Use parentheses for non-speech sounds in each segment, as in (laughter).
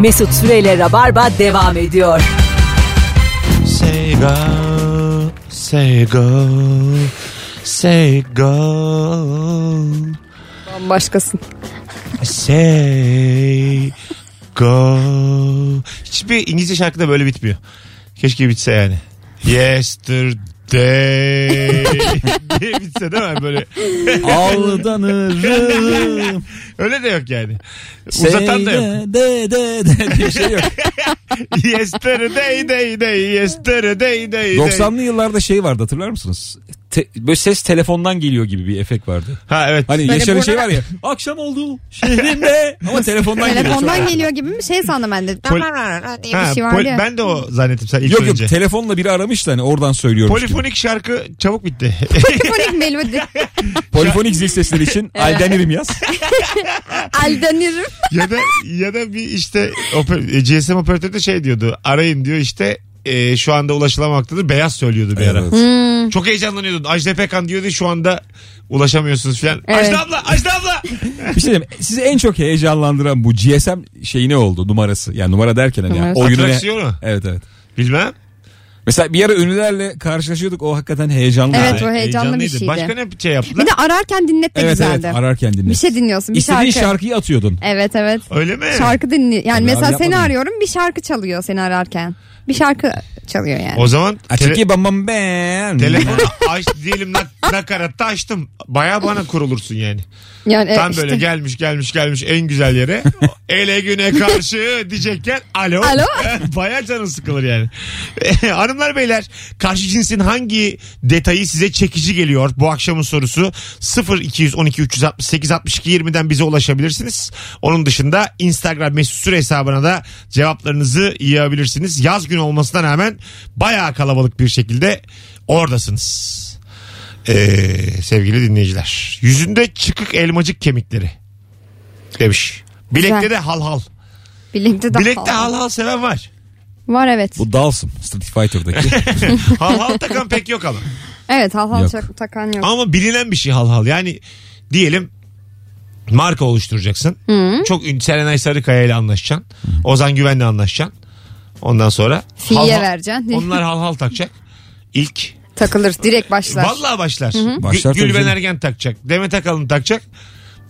Mesut Süreyle Rabarba devam ediyor. Say go, say go, say go, Başkasın. say go. Hiçbir İngilizce şarkı da böyle bitmiyor. Keşke bitse yani. Yesterday diye (laughs) bitse değil mi? Böyle Aldanırım. (laughs) öyle de yok yani. Uzatan da yok. Say De de de diye (laughs) bir şey yok. Yesterday day day yesterday day day. 90'lı yıllarda şey vardı hatırlar mısınız? Te- böyle ses telefondan geliyor gibi bir efekt vardı. Ha evet. Hani Böyle Yaşar'ın burnu- şey var ya. Akşam oldu şehrimde. Ama telefondan geliyor. Telefondan geliyor gibi bir şey sandım ben de. Pol- diye Ha, bir şey vardı pol- ya. ben de o zannettim sen ilk Yok yok önce. telefonla biri aramış da hani oradan söylüyorum. Polifonik şarkı çabuk bitti. (laughs) Polifonik melodi. Polifonik zil sesleri (laughs) için Aldenirim yaz. Aldanırım. ya da ya da bir işte oper- e, GSM operatörü de şey diyordu. Arayın diyor işte e, şu anda ulaşılamaktadır. Beyaz söylüyordu bir ara. Evet. Çok heyecanlanıyordun. Ajda Pekan diyordu şu anda ulaşamıyorsunuz falan. Evet. Ajda abla Ajda abla. Bir şey diyeyim. Sizi en çok heyecanlandıran bu GSM şeyi ne oldu numarası? Yani numara derken hani yani Numarası. (laughs) oyunu ne? Atraksiyonu. Evet evet. Bilmem. Mesela bir ara ünlülerle karşılaşıyorduk o hakikaten heyecanlı. Evet, Evet, o heyecanlı bir Heyecanlıydı. şeydi. Başka ne şey yaptılar? Bir de ararken dinlet de evet, güzeldi. ararken dinle. bir şey dinliyorsun. Bir İstediğin şarkı. şarkıyı atıyordun. Evet evet. Öyle mi? Şarkı dinli. Yani Tabii abi, mesela yapmadım. seni arıyorum bir şarkı çalıyor seni ararken. Bir şarkı çalıyor yani. O zaman tele- Açık bam bam ben. telefonu aç diyelim nak- nakaratta açtım. Baya bana kurulursun yani. yani e, Tam işte. böyle gelmiş gelmiş gelmiş en güzel (laughs) yere. Ele güne karşı diyecekken alo. (laughs) Alo. Baya canın sıkılır yani. (laughs) Hanımlar beyler karşı cinsin hangi detayı size çekici geliyor? Bu akşamın sorusu 0 212 368 62 20'den bize ulaşabilirsiniz. Onun dışında Instagram mesut süre hesabına da cevaplarınızı yığabilirsiniz. Yaz günü olmasına rağmen baya kalabalık bir şekilde oradasınız. Ee, sevgili dinleyiciler. Yüzünde çıkık elmacık kemikleri demiş. Bilekte Güzel. de hal hal. Bilekte de Bilekte hal. hal hal seven var. Var evet. Bu Dalsım Street (laughs) Fighter'daki. Hal hal takan pek yok (laughs) ama. Evet hal hal Yok. tak- takan yok. Ama bilinen bir şey hal hal. Yani diyelim marka oluşturacaksın. Çok ün- Serenay Sarıkaya ile anlaşacaksın. Ozan Güven'le anlaşacaksın. Ondan sonra Fiye hal hal- vereceksin. (laughs) Onlar hal hal takacak. İlk Takılır direkt başlar. vallahi başlar. Gü- Başlar tabii Gülben canım. Ergen takacak. Demet Akalın takacak.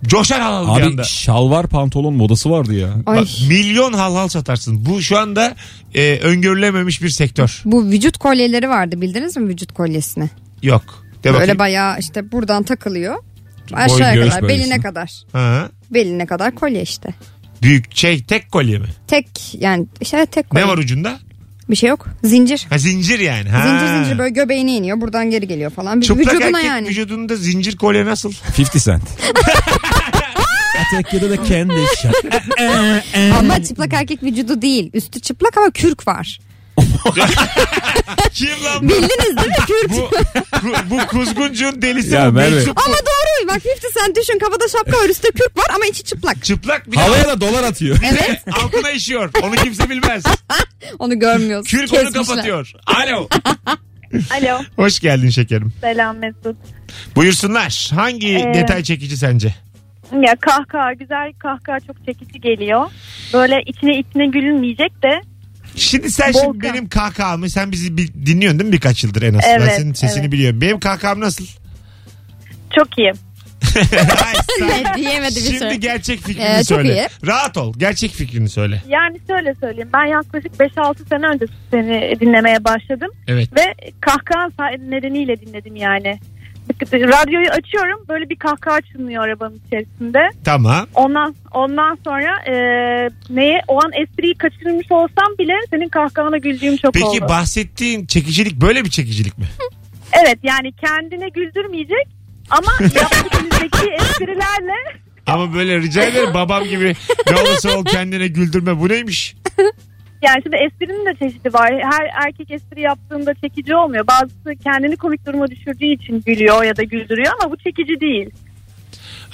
Coşar hal hal bir anda. Abi şalvar pantolon modası vardı ya. Ay. Bak, milyon hal hal satarsın. Bu şu anda e, öngörülememiş bir sektör. Bu vücut kolyeleri vardı bildiniz mi vücut kolyesini? Yok. De bakayım. Böyle bayağı işte buradan takılıyor. Boyun Aşağıya göğüs kadar bölgesine. beline kadar. Ha. Beline kadar kolye işte. Büyük şey tek kolye mi? Tek yani işte tek kolye. Ne var ucunda? Bir şey yok. Zincir. Ha, zincir yani. Ha. Zincir zincir böyle göbeğine iniyor. Buradan geri geliyor falan. Bir Çıplak vücuduna erkek yani. vücudunda zincir kolye (laughs) nasıl? 50 Cent. Atak ya da kendi Ama çıplak erkek vücudu değil. Üstü çıplak ama kürk var. Kim lan bu? Bildiniz değil mi kürk? bu, ku- bu kuzguncuğun delisi Ya bu. Merve. Meczup bu. Ama doğru. Bak 50 sen düşün kafada şapka var üstte kürk var ama içi çıplak. Çıplak (laughs) bir Havaya da dolar atıyor. Evet de altına işiyor. Onu kimse bilmez. onu görmüyoruz. Kürk onu Kesmişler. (laughs) kapatıyor. Alo. Alo. Hoş geldin şekerim. Selam Mesut. Buyursunlar. Hangi Ee, detay çekici sence? Ya kahkaha güzel kahkaha çok çekici geliyor. Böyle içine içine gülünmeyecek de Şimdi sen Volkan. şimdi benim kahkahamı sen bizi bir, dinliyorsun değil mi birkaç yıldır en azından. Evet, Senin sesini evet. biliyorum. Benim kahkaham nasıl? (laughs) (laughs) çok iyi. Hayır, sen- Evet, diyemedi bir şimdi şey. gerçek fikrini Ee, çok söyle. Rahat ol. Gerçek fikrini söyle. Yani şöyle söyleyeyim ben yaklaşık 5-6 sene önce seni dinlemeye başladım. Evet. Ve kahkaha say- nedeniyle dinledim yani. Radyoyu açıyorum böyle bir kahkaha çınlıyor arabanın içerisinde. Tamam. Ondan ondan sonra e, neye o an espriyi kaçırmış olsam bile senin kahkahana güldüğüm çok Peki oldu. bahsettiğin çekicilik böyle bir çekicilik (laughs) mi? evet yani kendine güldürmeyecek (laughs) ama yaptığınızdaki esprilerle Ama böyle rica ederim babam gibi ne olursa ol kendine güldürme. Bu neymiş? yani şimdi esprinin de çeşidi var. Her erkek espri yaptığında çekici olmuyor. Bazısı kendini komik duruma düşürdüğü için gülüyor ya da güldürüyor ama bu çekici değil.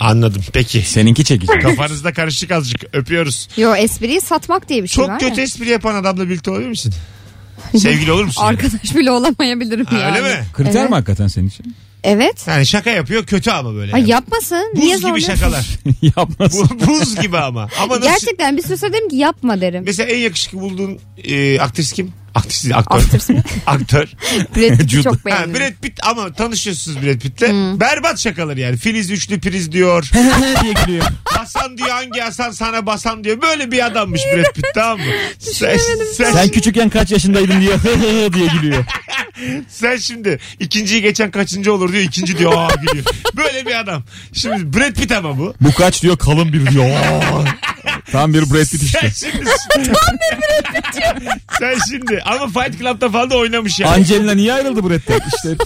Anladım. Peki. Seninki çekici. Kafanızda karışık azıcık. Öpüyoruz. Yo espriyi satmak diye bir şey Çok var kötü ya. espri yapan adamla birlikte olabilir (laughs) misin? Sevgili olur musun? yani? Arkadaş bile olamayabilirim şey. Ha, yani. öyle mi? Kriter Evet. mi hakikaten senin için? Evet. Yani şaka yapıyor kötü ama böyle. Ay yani. yapmasın. Buz Niye gibi zorluyorsun? şakalar. (laughs) Yapmasın. Bu- Buz gibi ama. Ama nasıl? Gerçekten bir süre sonra derim ki yapma derim. Mesela en yakışıklı bulduğun e, aktris kim? Aktris değil, aktör. (laughs) Aktris mi? aktör. Brad Pitt'i Jude. çok Ha, beğendim. Brad Pitt ama tanışıyorsunuz Brad Pitt'le. Berbat şakaları yani. Filiz üçlü priz diyor. (laughs) diye gülüyor. Hasan diyor hangi Hasan sana basan diyor. Böyle bir adammış Brad Pitt tamam mı? sen, sen, Sen küçükken kaç yaşındaydın diye hı hı hı (laughs) diye gülüyor. sen şimdi ikinciyi geçen kaçıncı olur diyor. ikinci diyor aa gülüyor. Böyle bir adam. Şimdi Brad Pitt ama bu. Bu kaç diyor kalın bir diyor. Aa. Tam bir Brad Pitt Sen işte. şimdi... sen şimdi ama Fight Club'da falan da oynamış yani. Angelina niye ayrıldı Brad'den? (laughs) İşte.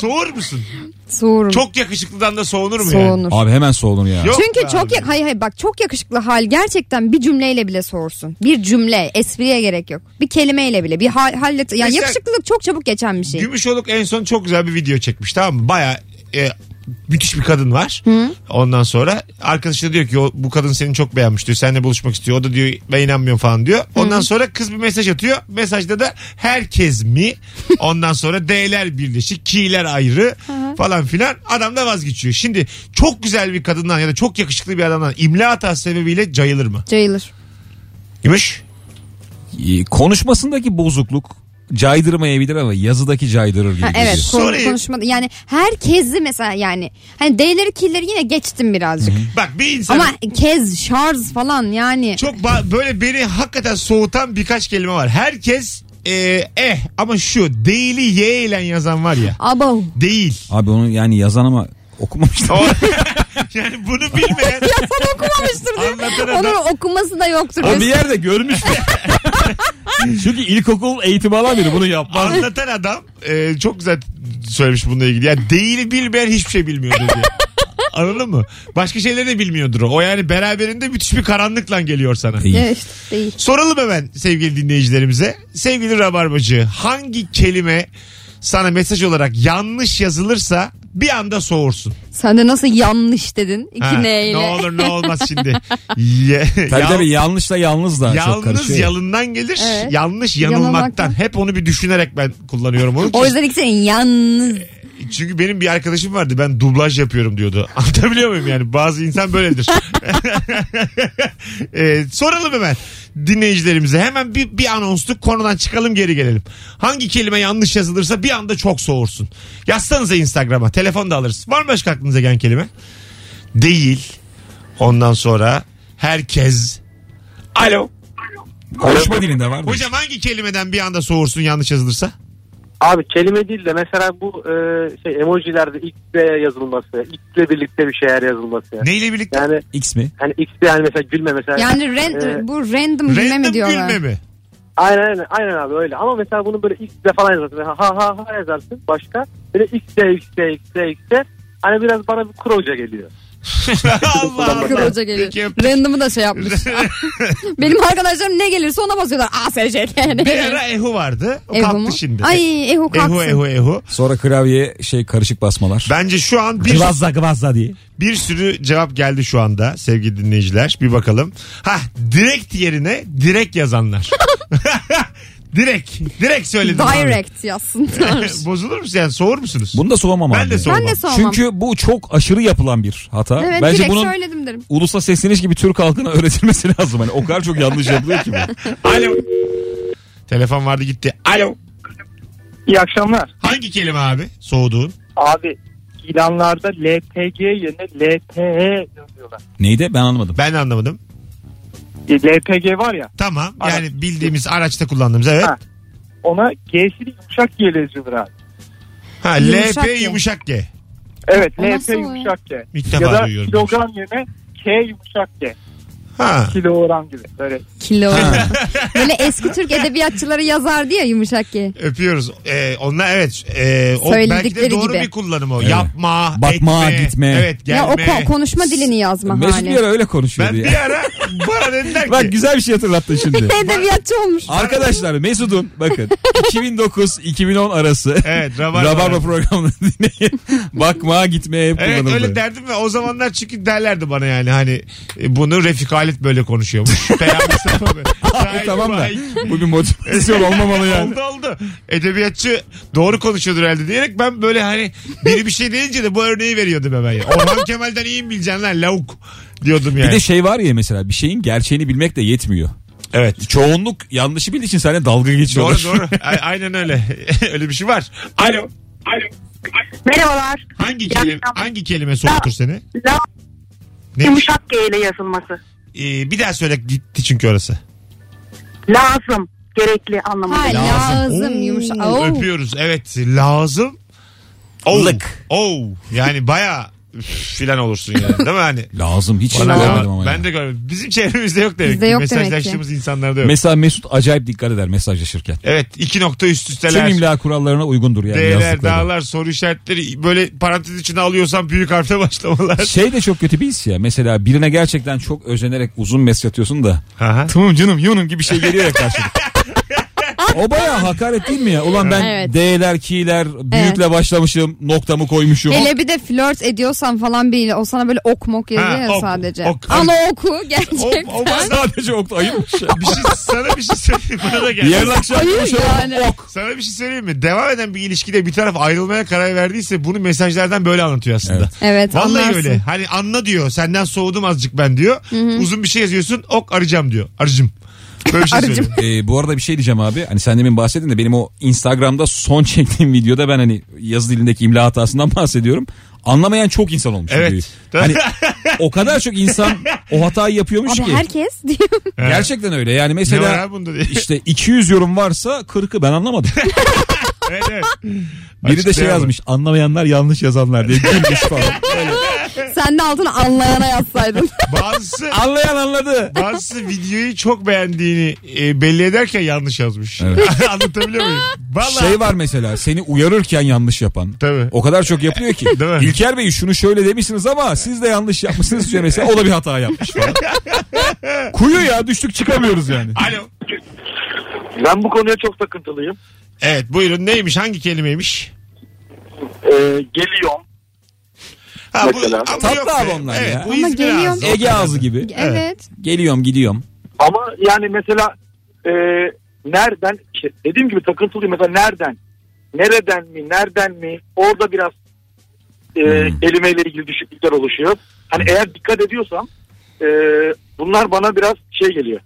Soğur musun? Soğurum. Çok yakışıklıdan da soğunur mu yani? Soğunur. Abi hemen soğudun ya. Yok Çünkü be çok abi. ya- hayır hayır bak çok yakışıklı hal gerçekten bir cümleyle bile sorsun. Bir cümle espriye gerek yok. Bir kelimeyle bile bir hal, halle yani Mesela- yakışıklılık çok çabuk geçen bir şey. Gümüşoluk en son çok güzel bir video çekmiş tamam mı? Baya e, müthiş bir kadın var. Ondan sonra arkadaşı da diyor ki "O- bu kadın seni çok beğenmiş diyor. Seninle buluşmak istiyor. O da diyor ben inanmıyorum falan diyor. Ondan sonra kız bir mesaj atıyor. Mesajda da herkes (laughs) mi? Ondan sonra D'ler birleşik, ki'ler ayrı falan filan. Adam da vazgeçiyor. Şimdi çok güzel bir kadından ya da çok yakışıklı bir adamdan imla hatası sebebiyle cayılır mı? Cayılır. Gümüş. Ee, Konuşmasındaki bozukluk caydırmayabilir ama yazıdaki caydırır gibi. Ha, evet geliyor. konu- Sorry. konuşma yani herkesi mesela yani hani D'leri killeri yine geçtim birazcık. Bak bir insan Ama kez şarj falan yani. Çok ba- böyle beni hakikaten soğutan birkaç kelime var. Herkes e, eh ama şu değili y ile yazan var ya. Abo. Değil. Abi onu yani yazan ama okumamıştım. O- (laughs) yani bunu bilmeyen Sen okumamıştır değil mi? Anlatan adam. Onun okuması da yoktur. Ama bir yerde görmüş. (laughs) Çünkü ilkokul eğitimi alan biri bunu yapmaz. anlatan adam e, çok güzel söylemiş bununla ilgili. Yani değili bilmeyen hiçbir şey bilmiyordur diye. Anladın mı? Başka şeyleri de bilmiyordur o. O yani beraberinde müthiş bir karanlıkla geliyor sana. İyi. (laughs) Evet işte değil. Soralım hemen sevgili dinleyicilerimize. Sevgili Rabarbacı hangi kelime sana mesaj olarak yanlış yazılırsa bir anda soğursun. Sen de nasıl yanlış dedin? İki Ha, neyle. Ne olur ne olmaz şimdi. (laughs) Ye- Tabii yal- tabii yanlışla yalnız da çok Yalnız karışıyor. yalından gelir. Evet. Yanlış yanılmaktan. Yanılmaktan. Hep onu bir düşünerek ben kullanıyorum onu. O yüzden ikisi yalnız. Çünkü benim bir arkadaşım vardı. Ben dublaj yapıyorum diyordu. (laughs) Anlatabiliyor muyum yani? Bazı insan böyledir. (laughs) Ee, soralım hemen dinleyicilerimize. Hemen bir, bir anonsluk konudan çıkalım geri gelelim. Hangi kelime yanlış yazılırsa bir anda çok soğursun. Yazsanıza Instagram'a. Telefon da alırız. Var mı başka aklınıza gelen kelime? Değil. Ondan sonra herkes. Alo. Konuşma dilinde var mı? Hocam hangi kelimeden bir anda soğursun yanlış yazılırsa? Abi kelime değil de mesela bu e, şey emojilerde X ile yazılması, X ile birlikte bir şeyler yazılması. Neyle birlikte? Yani X mi? hani X yani mesela gülme mesela. Yani ren- Ee, bu random, gülme Random mi diyorlar? gülme (laughs) mi? Aynen aynen, aynen abi öyle. Ama mesela bunu böyle X ile falan yazarsın. Mesela ha ha ha yazarsın başka. Böyle X ile X ile X ile X ile. Hani biraz bana bir kroca geliyor. Allah Allah. Kır hoca geliyor. Peki, Random'ı da (laughs) şey yapmış. Benim arkadaşlarım ne gelirse ona basıyorlar. A, S, C, K, ne Bir gelirse. ara Ehu vardı. O (laughs) Ehu kalktı mu? şimdi. Ay Ehu kalksın. Ehu Ehu Ehu. Sonra klavye şey karışık basmalar. Bence şu an bir, şey- Gıvazla gıvazla diye. bir sürü cevap geldi şu anda sevgili dinleyiciler. Bir bakalım. Ha direkt yerine direkt yazanlar. (laughs) direkt. Direkt söyledim. abi. (laughs) Direct yazsınlar. Bozulur musun yani soğur musunuz? Bunu da soğumam Ben abi. de soğumam. Ben de soğumam. Çünkü bu çok aşırı yapılan bir hata. evet Bence direkt bunun söyledim derim. ulusa sesleniş gibi Türk halkına (laughs) öğretilmesi lazım. Hani o kadar çok yanlış yapılıyor ki bu. Alo. Telefon vardı gitti. Alo. İyi akşamlar. Hangi kelime abi soğuduğun? Abi ilanlarda LPG yerine LPE yazıyorlar. E, Neydi ben anlamadım. Ben anlamadım. LPG var ya Tamam Ara- yani bildiğimiz araçta kullandığımız evet. Ha, Ha. ona G'sini yumuşak G ile yazıyorlar abi. LP Yumuşak G. yumuşak G. Evet O LP nasıl oluyor? yumuşak G. İlk Ya da defa duyuyorum. kilogram yerine K yumuşak G. Ha. Kilogram gibi. Böyle Kilo. Böyle eski Türk edebiyatçıları yazardı ya yumuşak ki. Öpüyoruz. Ee, onlar evet. Ee, o belki de Söyledikleri doğru gibi. bir kullanım o. Evet. Yapma, Bakma, etme, gitme. Evet, Ya o gelme. ko- konuşma dilini yazma Mesut bir hali. ara öyle konuşuyordu ben ya. bir ara bana dediler ki. Bak güzel bir şey hatırlattın (laughs) şimdi. Edebiyatçı olmuş. Arkadaşlar Mesut'un bakın 2009-2010 arası Evet, rabarba. Rabarba programını (laughs) dinleyin. Bakmaya gitmeye hep Evet kullanıldı. (laughs) öyle derdim ve o zamanlar (laughs) çünkü derlerdi bana yani hani e, bunu Refik Halit böyle konuşuyormuş. Peyami Mustafa böyle. Ay, tamam da ay. bu (laughs) bir motivasyon olmamalı yani. Oldu oldu. Edebiyatçı doğru konuşuyordur herhalde diyerek ben böyle hani biri bir şey deyince de bu örneği veriyordum hemen. ya. (laughs) Orhan Kemal'den iyiyim bileceksin lan lavuk diyordum yani. Bir de şey var ya mesela bir şeyin gerçeğini bilmek de yetmiyor. evet. Çoğunluk yanlışı bildiği için seninle dalga Doğru (laughs) geçiyorlar. doğru. A- Aynen öyle. (laughs) öyle bir şey var. Alo. Merhabalar. Hangi kelime, hangi kelime soğutur seni? La Ne? yumuşak G ile yazılması. Ee, bir daha söyle gitti çünkü orası. Lazım. Gerekli anlamında. Ha lazım yumuşak. Oo, Oo. Öpüyoruz. Evet. Lazım. Oo. Oo. Yani baya üf filan olursun yani. Değil mi hani? (laughs) Lazım hiç Bana görmedim ama. ben ya. de görmedim. Bizim çevremizde yok demek Bizde ki. yok demek ki. Mesajlaştığımız insanlarda yok. Mesela Mesut acayip dikkat eder mesajlaşırken. evet iki nokta üst Tüm üsteler. imla kurallarına uygundur yani D'ler, yazdıkları. dağlar, soru işaretleri böyle parantez içine alıyorsan büyük harfle (laughs) (laughs) başlamalar. Şey de çok kötü bir his ya. Mesela birine gerçekten çok özenerek uzun mesaj atıyorsun da. Aha. Tamam canım yunum gibi şey geliyor ya karşına. o baya hakaret değil mi ya? Ulan ben Evet. D'ler, K'ler, büyükle başlamışım, noktamı koymuşum. Hele bir de flört ediyorsan falan biriyle o sana böyle ok mok yazıyor Ha, ya ok, sadece. ok. Ama oku O, gerçekten. o bana Sadece okta (laughs) ayıpmış ya. bir şey, sana bir şey söyleyeyim. Bana da geldi. Yarın akşam Ayı konuşalım. yani. Ok. Sana bir şey söyleyeyim mi? Devam eden bir ilişkide bir taraf ayrılmaya karar verdiyse bunu mesajlardan böyle anlatıyor aslında. Evet. Evet Vallahi anlarsın. öyle. Hani anla diyor. Senden soğudum azıcık ben diyor. Uzun bir şey yazıyorsun. Ok arayacağım diyor. Arıcım. Böyle bir şey Arıcım. söylüyor. Ee, bu arada bir şey diyeceğim abi. Hani sen demin bahsettin de benim o Instagram'da son çektiğim videoda ben hani yazı dilindeki imla hatasından (laughs) bahsediyorum. Anlamayan çok insan olmuş. Evet. videoyu. (laughs) Hani o kadar çok insan o hatayı yapıyormuş Abi ki. herkes diyor. Gerçekten öyle. Yani Ne var mesela abi (laughs) bunda (laughs) diye. işte 200 yorum varsa 40'ı (laughs) ben anlamadım. evet, evet. Biri de şey Açıklayamam. yazmış. Anlamayanlar yanlış yazanlar diye gülmüş (laughs) falan. (laughs) Sen de altına anlayana yazsaydın. Bazısı Anlayan anladı. bazısı videoyu çok beğendiğini e, belli ederken yanlış yazmış. Evet. (laughs) Anlatabiliyor muyum? Vallahi Şey var mesela seni uyarırken yanlış yapan. Tabii. O kadar çok yapıyor ki. Değil mi? İlker Bey şunu şöyle demişsiniz ama siz de yanlış yapmışsınız diyor mesela. O da bir hata (laughs) yapmış falan. Kuyu ya düştük çıkamıyoruz yani. Alo. Ben bu konuya çok takıntılıyım. Evet buyurun neymiş hangi kelimeymiş? Ee, geliyorum. Ha, Mesela. ama Tatlı yok be. abi onlar evet, ya. Bu Ama İzmir geliyorum. ağzı. Ege ağzı gibi. evet. Geliyorum gidiyorum. Ama yani mesela e, nereden işte dediğim gibi takıntılıyım mesela nereden nereden mi nereden mi orada biraz e, Hmm. kelimeyle ilgili düşüklükler oluşuyor. Hani eğer dikkat ediyorsam e, bunlar bana biraz şey geliyor.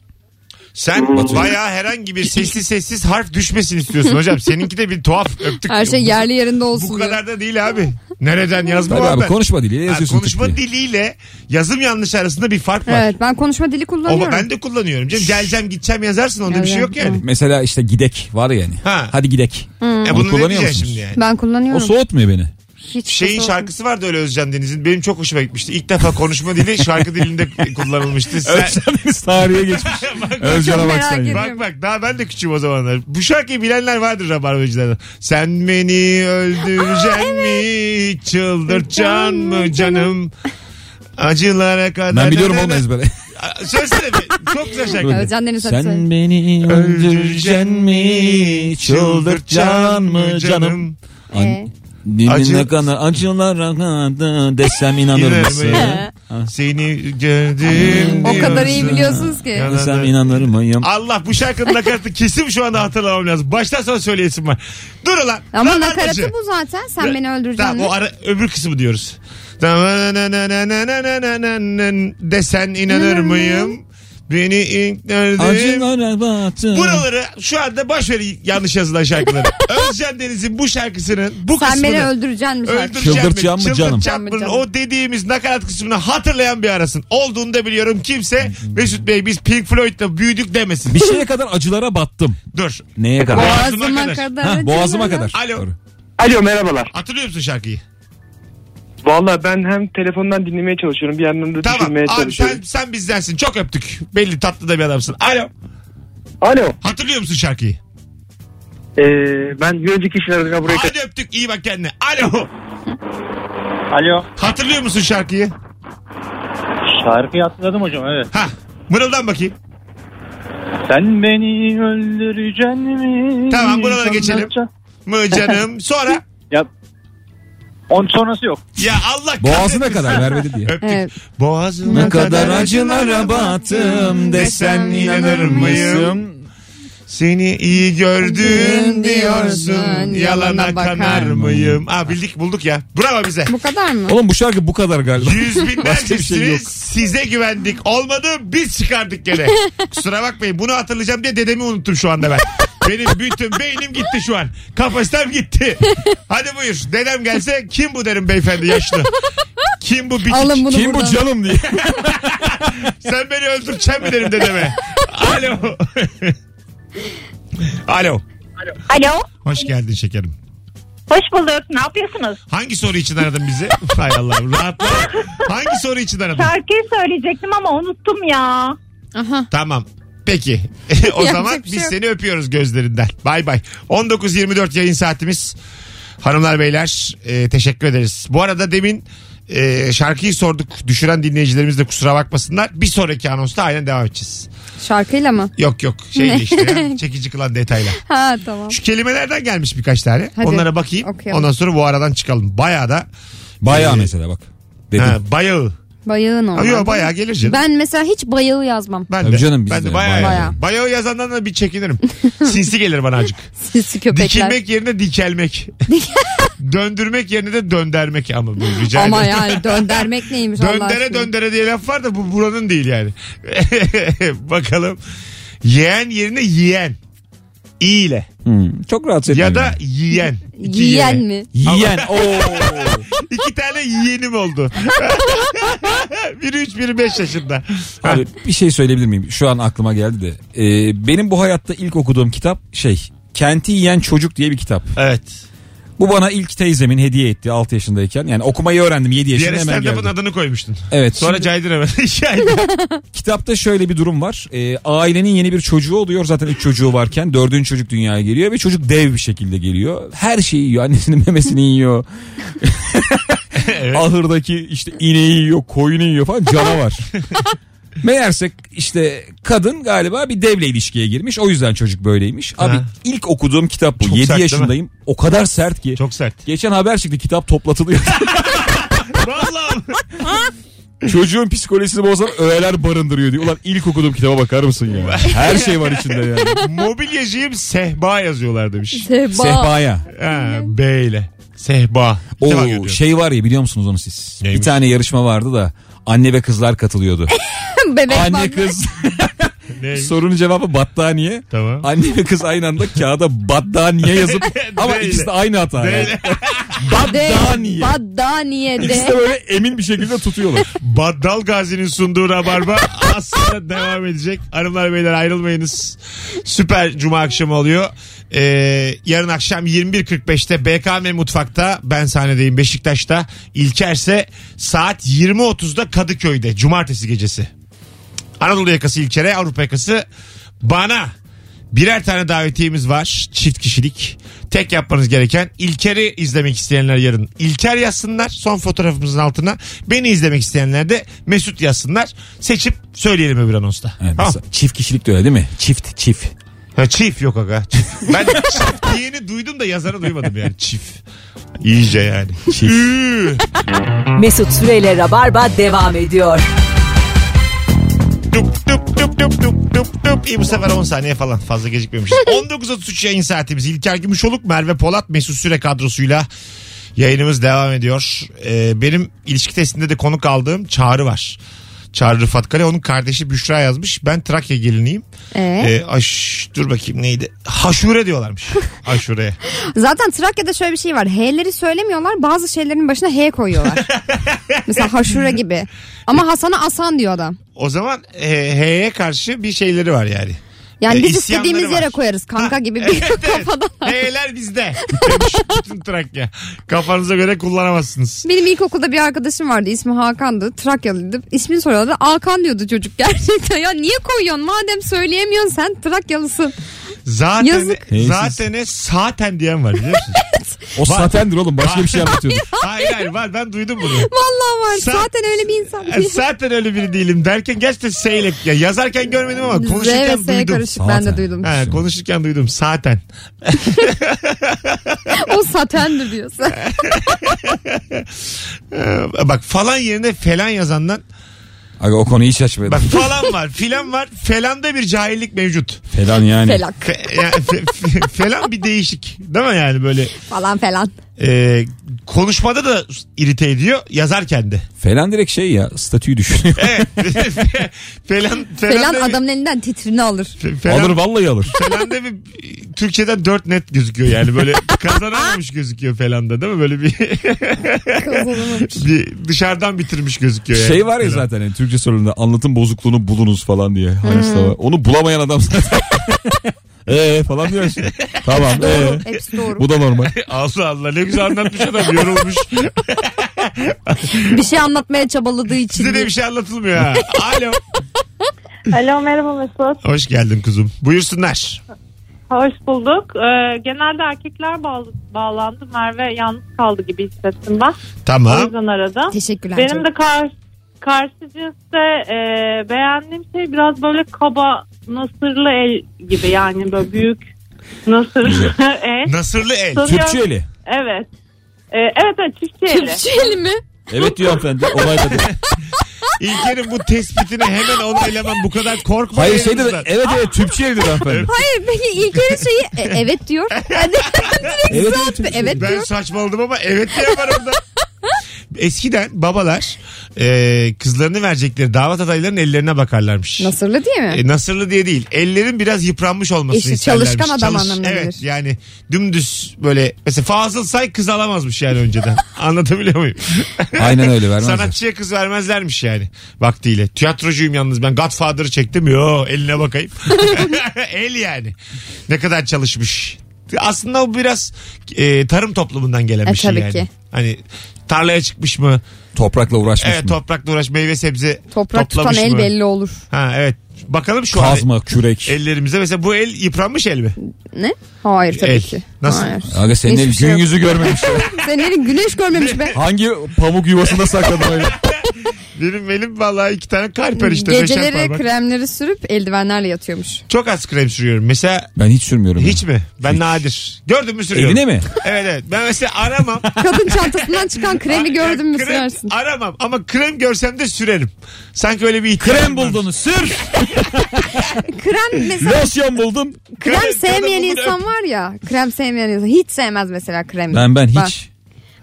Sen Hmm. bayağı herhangi bir sessiz sessiz harf düşmesin istiyorsun hocam. Seninki de bir tuhaf öptük. Her şey Bu- yerli yerinde Bu olsun diyor. kadar da değil abi. Nereden yazma Tabii var abi ben? konuşma diliyle Ha, yazıyorsun. konuşma tık diye. diliyle yazım yanlış arasında bir fark var. Evet ben konuşma dili Ama kullanıyorum. ben de kullanıyorum. Canım, geleceğim gideceğim yazarsın onda bir şey yok yani. Mesela işte gidek var yani. Ha. Hadi gidek. E bunu ne kullanıyor diyeceksin musunuz? şimdi yani? Ben O kullanıyorum. şey soğutmuyor beni. Hiç Şeyin soğuk- şarkısı vardı öyle Özcan Deniz'in. Benim çok hoşuma gitmişti. İlk defa konuşma dili şarkı dilinde (laughs) kullanılmıştı. Sen, Özlemimiz tarihe (laughs) geçmiş. Bak- Özcan'a Çok merak baksan ya. ediyorum. Bak bak daha ben de küçüğüm o zamanlar. Bu şarkıyı bilenler vardır rabarbacılardan. Sen beni öldüreceksin mi? Çıldırtacaksın mı canım? Acılara kadar. Ben biliyorum onu ezbere. (laughs) Aa, Söylesene bir. Çok güzel şarkı. Özcan Deniz hadi söyle. Sen beni öldüreceksin mi? Çıldırtacaksın mı canım? Ee? Dilin Acı- ne kadar acılar akadı desem inanır İnanır mısın? mıyım? Seni gördüm O kadar iyi diyorsun. biliyorsunuz ki. Ya- Desem inanır mıyım? Allah bu şarkının nakaratı kesin şu anda hatırlamam lazım. Baştan sona söyleyesim var. Dur ulan. Ama Lan nakaratı bacı. bu zaten. Sen beni öldüreceksin. Tamam o ara öbür kısmı diyoruz. Desen inanır mıyım? Beni ilk gördüğüm- Acılara batı. Buraları şu anda boş ver yanlış yazılan şarkıları. Özcan Deniz'in bu şarkısının bu Sen kısmını beni öldüreceksin mi şarkı? öldüreceğim Çıldırtacağım mı canım? çıldırtacağım mı Canım. O dediğimiz nakarat kısmını hatırlayan bir arasın. Olduğunu da biliyorum kimse Mesut Bey biz Pink Floyd'la büyüdük demesin. Bir şeye kadar acılara battım. Dur. Neye kadar? Boğaz- Boğazıma kadar. kadar. Ha, boğazıma canım. kadar. Alo. Doğru. Alo merhabalar. Hatırlıyor musun şarkıyı? Valla ben hem telefondan dinlemeye çalışıyorum bir yandan da Tamam. düşünmeye Abi çalışıyorum. sen, sen bizdensin. Çok öptük. Belli tatlı da bir adamsın. Alo. Alo. Hatırlıyor musun şarkıyı? Ee, ben bir önceki şarkıya buraya Hadi öptük. iyi bak kendine. Alo. Alo. Hatırlıyor musun şarkıyı? Şarkıyı hatırladım hocam evet. Ha. Mırıldan bakayım. Sen beni öldüreceksin mi? Tamam, buralara geçelim. (laughs) Sandıkça- Mı canım. Sonra. Ya On sonrası yok. Ya Allah Boğazına kahretsin. kadar vermedi diye. Öptük. Evet. Boğazına Ne kadar acılara battım desen inanır mıyım? Seni iyi gördüm diyorsun yalana kanar mıyım? Aa bildik bulduk ya. Bravo bize. Bu kadar mı? Oğlum bu şarkı bu kadar galiba. Yüz Başka bir şey binlercesini yok. size güvendik. Olmadı biz çıkardık gene. Kusura bakmayın bunu hatırlayacağım diye dedemi unuttum şu anda ben. Benim bütün beynim gitti şu an. Kapasitem gitti. Hadi buyur. Dedem gelse kim bu derim beyefendi yaşlı. Kim bu biçik? Alın bunu Kim bu buradan. canım diye. Sen beni öldürteceksin mi derim dedeme. Alo. Alo. Alo. Hoş geldin şekerim. Hoş bulduk. Ne yapıyorsunuz? Hangi soru için aradın bizi? Hay Allah'ım rahatla. Hangi soru için aradın? Şarkıyı söyleyecektim ama unuttum (laughs) ya. Aha. Tamam. Peki. (laughs) o Yapacak zaman bir şey biz yok. seni öpüyoruz gözlerinden. Bay bay. 19.24 yayın saatimiz. Hanımlar beyler e, teşekkür ederiz. Bu arada demin e, şarkıyı sorduk. Düşüren dinleyicilerimiz de kusura bakmasınlar. Bir sonraki anonsta aynen devam edeceğiz. Şarkıyla mı? Yok yok şeyle işte (laughs) ya. Çekici kılan detayla. Ha tamam. Şu kelimelerden gelmiş birkaç tane. Hadi, Onlara bakayım. okuyalım. Ondan sonra bu aradan çıkalım. Bayağı da (laughs) Bayağı mesela bak. Dedim. ha, bayağı. Bayağın Ama olmadı. Yok bayağı gelir canım. Ben mesela hiç bayağı yazmam. Ben Tabii de, canım biz ben de, de bayağı. bayağı. Bayağı. Bayağı yazandan da bir (laughs) çekinirim. Sinsi gelir bana acık. Sinsi köpekler. Dikilmek yerine (laughs) dikelmek. Döndürmek yerine de döndermek ama bu rica Ama ederim. yani döndermek neymiş Allah Döndere aşkına. döndere diye laf var da bu buranın değil yani. (laughs) Bakalım. Yeğen yerine yiyen. İ ile. Hmm, Çok rahatsız etmiyor. Ya da yiyen. İki Yiyen ye. mi? yiyen. Oo. (laughs) İki tane yeğenim (laughs) oldu. biri üç biri beş yaşında. Abi bir şey söyleyebilir miyim? Şu an aklıma geldi de. Ee, benim bu hayatta ilk okuduğum kitap şey. Kenti Yiyen Çocuk diye bir kitap. Evet. Bu bana ilk teyzemin hediye etti 6 yaşındayken. Yani okumayı öğrendim 7 yaşında Diğer hemen stand-up'ın geldi. adını koymuştun. Evet. Sonra Sonra Caydır hemen. (laughs) Caydır. kitapta şöyle bir durum var. Ee, ailenin yeni bir çocuğu oluyor. Zaten 3 çocuğu varken dördüncü çocuk dünyaya geliyor ve çocuk dev bir şekilde geliyor. Her şeyi yiyor. Annesinin (laughs) memesini yiyor. Ahırdaki işte ineği yiyor, koyunu yiyor falan (laughs) canavar. Meğerse işte kadın galiba bir devle ilişkiye girmiş. O yüzden çocuk böyleymiş. Abi Ha. ilk okuduğum kitap bu. Çok 7 sert değil mi? yaşındayım. O kadar sert ki. Çok (laughs) sert. Geçen haber çıktı kitap (laughs) toplatılıyor. Vallahi. Çocuğun psikolojisini bozan öğeler barındırıyor diyor. Ulan ilk okuduğum kitaba bakar mısın ya? Her şey var içinde yani. Mobilyacıyım sehpa yazıyorlar demiş. Sehpa. Sehpaya. Ha, B ile. Sehpa. Bir defa O görüyorum. şey var ya biliyor musunuz onu siz? Neymiş? Bir tane yarışma vardı da anne ve kızlar katılıyordu. Bebek anne bakmak. kız Ne? sorunun cevabı battaniye. Tamam. Anne ve kız aynı anda kağıda battaniye yazıp (laughs) ama Değil. ikisi de aynı hata. yani. Değil. De, Battaniye. baddaniye İkisi de de. böyle emin bir şekilde tutuyorlar. (laughs) Baddal Gazi'nin sunduğu Rabarba aslında devam edecek. Hanımlar beyler ayrılmayınız. Süper cuma akşamı oluyor. Ee, yarın akşam 21.45'te BKM Mutfak'ta ben sahnedeyim Beşiktaş'ta. İlker'se saat 20.30'da Kadıköy'de cumartesi gecesi. Anadolu yakası İlker'e Avrupa yakası bana birer tane davetiyemiz var çift kişilik. Tek yapmanız gereken İlker'i izlemek isteyenler yarın İlker yazsınlar son fotoğrafımızın altına. Beni izlemek isteyenler de Mesut yazsınlar. Seçip söyleyelim öbür anonsta. Evet, Tamam. mesela Çift kişilik de öyle değil mi? Çift çift. Ha, çift yok aga. Çift. Ben çift diyeni duydum da yazarı duymadım yani çift. İyice yani. Üü. Mesut Süreyle Rabarba devam ediyor. Dup dup dup dup dup dup dup. İyi bu sefer 10 saniye falan fazla gecikmemişiz. 19.33 yayın saatimiz. İlker Gümüşoluk, Merve Polat, Mesut Süre kadrosuyla yayınımız devam ediyor. Ee, benim ilişki testinde de konuk aldığım Çağrı var. Çağrı Rıfat Kale onun kardeşi Büşra yazmış. Ben Trakya geliniyim. Ee? Ee, aş, dur bakayım neydi? Haşure diyorlarmış. Aşure'ye. Zaten Trakya'da şöyle bir şey var. H'leri söylemiyorlar. Bazı şeylerin başına (laughs) H koyuyorlar. Mesela haşura gibi. E- Ama Hasan'a Asan diyor adam. O zaman e, H'ye karşı bir şeyleri var yani. Yani E, biz isyanları istediğimiz var. yere koyarız. Kanka Ha, gibi (laughs) bir evet, evet. kafadan. H'ler bizde. (laughs) Demiş Bütün Trakya. Kafanıza göre kullanamazsınız. Benim ilkokulda bir arkadaşım vardı. ismi Hakan'dı. Trakyalıydı. İsmini (laughs) soruyorlardı. Hakan diyordu çocuk gerçekten. Ya niye koyuyorsun? Madem söyleyemiyorsun sen Trakyalısın. Zaten Yazık. Neyse. zaten zaten diyen var biliyor musun? O satendir oğlum (laughs) başka bir şey (laughs) anlatıyordur. (laughs) hayır hayır var ben duydum bunu. Vallahi var. Sen- Zaten öyle bir insan. Yani zaten öyle biri değilim derken gerçekten seyle ya yazarken görmedim ama Z ve konuşurken S duydum. karışık ben Zaten. de duydum. Ha, konuşurken duydum zaten. (laughs) o (laughs) satendir diyorsun. Ee, bak falan yerine falan yazandan Aga o konuyu hiç açmadım. bak falan var filan var felanda bir cahillik mevcut. Falan yani. Felak Fe- yani fe- fe- falan bir değişik değil mi yani böyle falan falan. e, konuşmada da irite ediyor yazarken de. Falan direkt şey ya statüyü düşünüyor. Evet. (laughs) Fe- falan, Falan da bir- adamın elinden (laughs) titrini alır. fe- falan- alır vallahi alır. falan da bir Türkçeden 4 net gözüküyor yani böyle kazanamamış gözüküyor falan da değil mi böyle bir, (laughs) Kazanamamış. bir dışarıdan bitirmiş gözüküyor yani. Şey var ya Falan. zaten hani Türkçe sorununda anlatım bozukluğunu bulunuz falan diye. Hangisi de var. Onu bulamayan adam (laughs) zaten. Eee falan diyorsun. Tamam ee. (laughs) Hepsi doğru. Bu da normal. Allah Allah ne güzel anlatmış adam yorulmuş. Bir şey anlatmaya çabaladığı için. Size de bir şey anlatılmıyor ha. Alo. Alo merhaba Mesut. Hoş geldin kuzum. Buyursunlar. Hoş bulduk. Ee, genelde erkekler bağlı, bağlandı. Merve yalnız kaldı gibi hissettim ben. O Tamam. yüzden aradım. şey- Teşekkürler. Benim canım. (laughs) de kar, karşı cinste e, beğendiğim şey biraz böyle kaba nasırlı el gibi yani böyle büyük nasırlı (laughs) el. Nasırlı el. Tabii. Türkçe eli. Evet. E, evet evet çiftçi eli. Tüpçü eli şey mi? Evet diyor hanımefendi. Olay da değil. İlker'in bu tespitine hemen onu elemem. Bu kadar korkma. Hayır şey dedi. yayınımızdan. Evet evet Türkçe eli dedi hanımefendi. Hayır peki İlker'in şeyi (laughs) e, evet diyor. Yani Evet evet evet, Türkçe. evet Ben diyor. saçmaladım ama evet diye var orada. Eskiden babalar e, kızlarını verecekleri damat adaylarının ellerine bakarlarmış. Nasırlı değil mi? E, nasırlı diye değil. Ellerin biraz yıpranmış olmasını İşte isterlermiş. çalışkan adam anlamına Evet gelir. yani dümdüz böyle mesela Fazıl Say kız alamazmış yani önceden. (laughs) Anlatabiliyor muyum? Aynen öyle vermezler. Sanatçıya kız vermezlermiş yani vaktiyle. Tiyatrocuyum yalnız ben Godfather'ı çektim. Yo eline (laughs) bakayım. El yani. Ne kadar çalışmış. Aslında o biraz e, tarım toplumundan gelen bir E, şey tabii yani. ki. Hani tarlaya çıkmış mı? Toprakla uğraşmış evet mı? toprakla uğraş meyve sebze Toprak tutan toplamış el mı? belli olur. Ha evet. Bakalım şu an Kazma, kürek. ellerimize. Mesela bu el yıpranmış el mi? Ne? Hayır tabii El. ki. Nasıl? Hayır. Aga senin Hiçbir el şey gün yok. yüzü (laughs) görmemiş. Senin elin güneş (laughs) görmemiş be. Hangi pamuk yuvasında sakladın öyle? Benim elim vallahi iki tane kalper işte. beşer Geceleri parmak. kremleri sürüp eldivenlerle yatıyormuş. Çok az krem sürüyorum. Mesela Ben hiç sürmüyorum. ya. hiç mi? Ben nadir. Gördün mü sürüyorum? Eline mi? Evet evet. Ben mesela aramam. Kadın çantasından çıkan kremi gördün mü Krem sürersin. Aramam ama krem görsem de sürerim. Sanki öyle bir ihtiyacım Krem var. buldun sür. (laughs) Krem mesela Losyon buldun. Krem- krem sevmeyen kadın bunu insan var ya. Krem sevmeyen insan. Hiç sevmez mesela kremi. Ben ben Bak, hiç.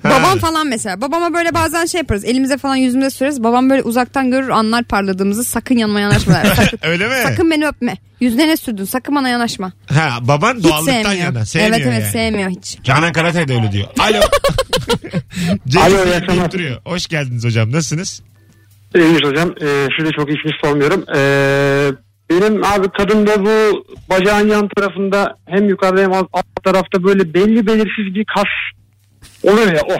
Ha. Babam falan mesela. Babama böyle bazen şey yaparız. Elimize falan yüzümüze süreriz. Babam böyle uzaktan görür anlar parladığımızı. Sakın yanıma (laughs) yanaşma. der. Sakın, (laughs) Öyle mi? sakın beni öpme. Yüzüne ne sürdün? Sakın bana yanaşma. Ha, baban Hiç doğallıktan sevmiyor. yana. Sevmiyor evet evet yani. sevmiyor hiç. Canan Karatay da öyle diyor. (laughs) Alo. Alo, iyi Alo akşamlar. duruyor. Hoş geldiniz hocam. Nasılsınz? İyiymiş hocam. Ee, şöyle çok hiçbir sormuyorum. Ee, benim abi kadında bu bacağın yan tarafında hem yukarıda hem alt, alt tarafta böyle belli belirsiz bir kas oluyor ya o.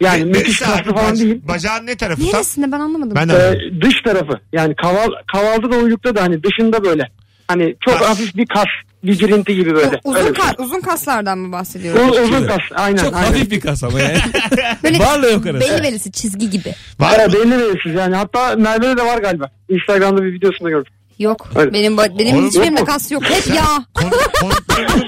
Yani müthiş Neresi abi? kaslı falan Bac- değil. Bacağın ne tarafı? Tam- Neresinde ben anlamadım. Ben Ee, anladım. dış tarafı. Yani kaval, kavalda da uylukta da hani dışında böyle. Hani çok Kas. hafif bir kas. Bir girinti gibi böyle. uzun, Öyle bir şey. ka- uzun kaslardan mı bahsediyorum? U- uzun kas. Aynen. Çok aynen. hafif bir kas ama yani. (laughs) Böyle Varla yok arası. Belli belisi çizgi gibi. Var Baya mı? belli belirsiz yani. Hatta Merve'de de var galiba. Instagram'da bir videosunda gördüm. Yok. Öyle. Benim ba- Oğlum, benim hiçbirimde yok mu? kas yok. Hep yağ. Konu, konu...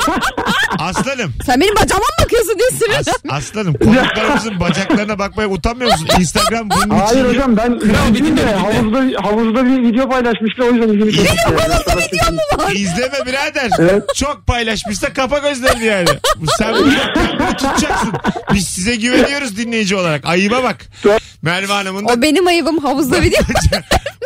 (laughs) Aslanım. Sen benim bacağıma mı bakıyorsun diye As, sürüyorsun. aslanım. Konuklarımızın bacaklarına bakmaya utanmıyor musun? Instagram bunun için. Hayır ya. hocam ben bitti, bildim de bitti. havuzda, havuzda bir video paylaşmıştı o yüzden ilgimi çekti. Havuzda video mu (laughs) var? İzleme birader. Evet. Çok paylaşmışsa kapa gözlerini yani. Bu Sen bunu yapmayı tutacaksın. Biz size güveniyoruz dinleyici olarak. Ayıba bak. Merve Hanım'ın da (laughs) O benim ayıbım havuzda video.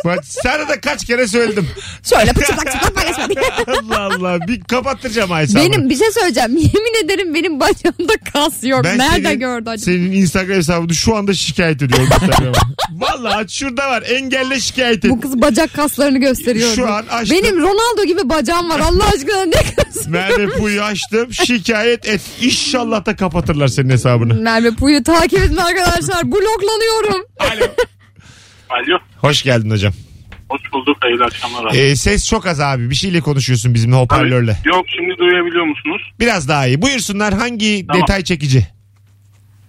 Bak sana da kaç kere söyledim. Şöyle pıçıldak çıplak paylaşma diye. Allah Allah. Bir kapattıracağım Aysa Benim bir şey söyleyeceğim. Yemin ederim benim bacağımda kas yok. Nerede senin- gördü acaba? Senin Instagram hesabını şu anda şikayet ediyorum. Instagram'a. Vallahi aç şurada var. Engelle şikayet et. Bu kız bacak kaslarını gösteriyor. Şu an açtım. Benim Ronaldo gibi bacağım var. Allah aşkına ne kız? Merve Puyu açtım. Şikayet et. İnşallah da kapatırlar senin hesabını. Merve Puyu takip edin arkadaşlar. Bloklanıyorum. Alo. Alo. Hoş geldin hocam. Hoş bulduk. Hayırlı akşamlar abi. Ee, ses çok az abi. Bir şeyle konuşuyorsun bizimle hoparlörle. Yok şimdi duyabiliyor musunuz? Biraz daha iyi. Buyursunlar hangi Tamam. detay çekici?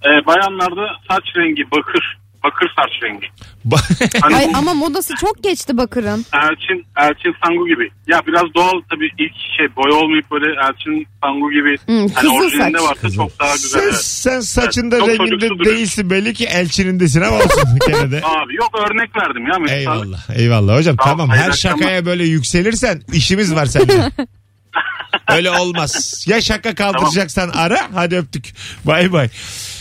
Ee, bayanlarda saç rengi bakır. Bakır saç rengi. (laughs) Ba- Hani Ay bu ama modası çok geçti Bakır'ın. Elçin, Elçin Sangu gibi. Ya biraz doğal tabii ilk şey boy olmayıp böyle Elçin Sangu gibi. Hmm, hani kızıl orijinalinde saç. varsa çok daha sen, güzel. evet. sen saçında Evet, çok çocuksu renginde duruyor. değilsin belli ki elçinindesin ama olsun (laughs) gene de. Abi yok örnek verdim ya. Mesela. Eyvallah. Eyvallah hocam. Tamam, Tamam. hayırlı Her akşamlar. şakaya böyle yükselirsen işimiz var (laughs) seninle. Öyle olmaz. Ya şaka kaldıracaksan ara. Hadi öptük. Bay bay.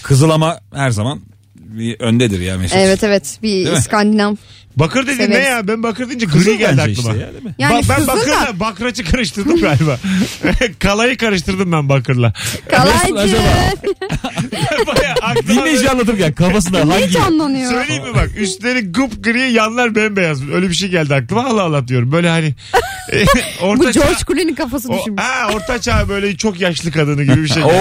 Kızıl ama her zaman bir öndedir ya Mesut. Evet evet bir mi? İskandinav. Bakır dedin Severiz. ne ya? Ben bakır deyince Kızıl gri geldi bence aklıma. işte ya, değil mi? Yani Ba- ben kızıl da bakırla bakraçı karıştırdım galiba. (laughs) Kalayı karıştırdım ben bakırla. kalaycı. Baya aklıma Dinleyici anlatırken kafasında Ne hangi... canlanıyor? Söyleyeyim mi bak üstleri gup gri yanlar bembeyaz. Öyle bir şey geldi aklıma Allah Allah diyorum. Böyle hani (laughs) orta Bu George çağ- Clooney kafası o, düşünmüş. ha, orta çağ böyle çok yaşlı kadını gibi bir (laughs) şey. (laughs) Oo.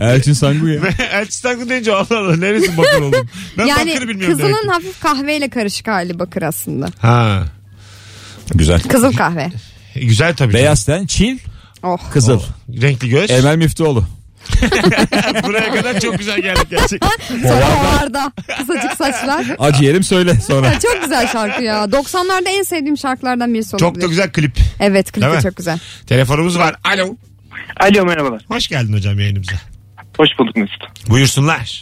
Elçin Sangu ya. Ve Elçi Taklı deyince Allah Allah neresi bakır oldum. Ben Yani bakır bilmiyorum demek kızılın ki. hafif kahveyle karışık hali Bakır aslında. Ha. Güzel. Kızıl kahve. E, Güzel tabii. Beyaz ten, çil, Oh. kızıl. Renkli göz. Emel Müftüoğlu. (laughs) Buraya kadar çok güzel geldik gerçekten. Sonra ovarda kısacık saçlar. Acı yerim söyle sonra. (laughs) Ya çok güzel şarkı ya. 90'larda en sevdiğim şarkılardan birisi olabilir. çok da güzel klip. Evet klip Değil mi? de çok güzel. Telefonumuz var. Alo. Alo merhabalar. Hoş geldin hocam yayınımıza. Hoş bulduk Mesut. Buyursunlar.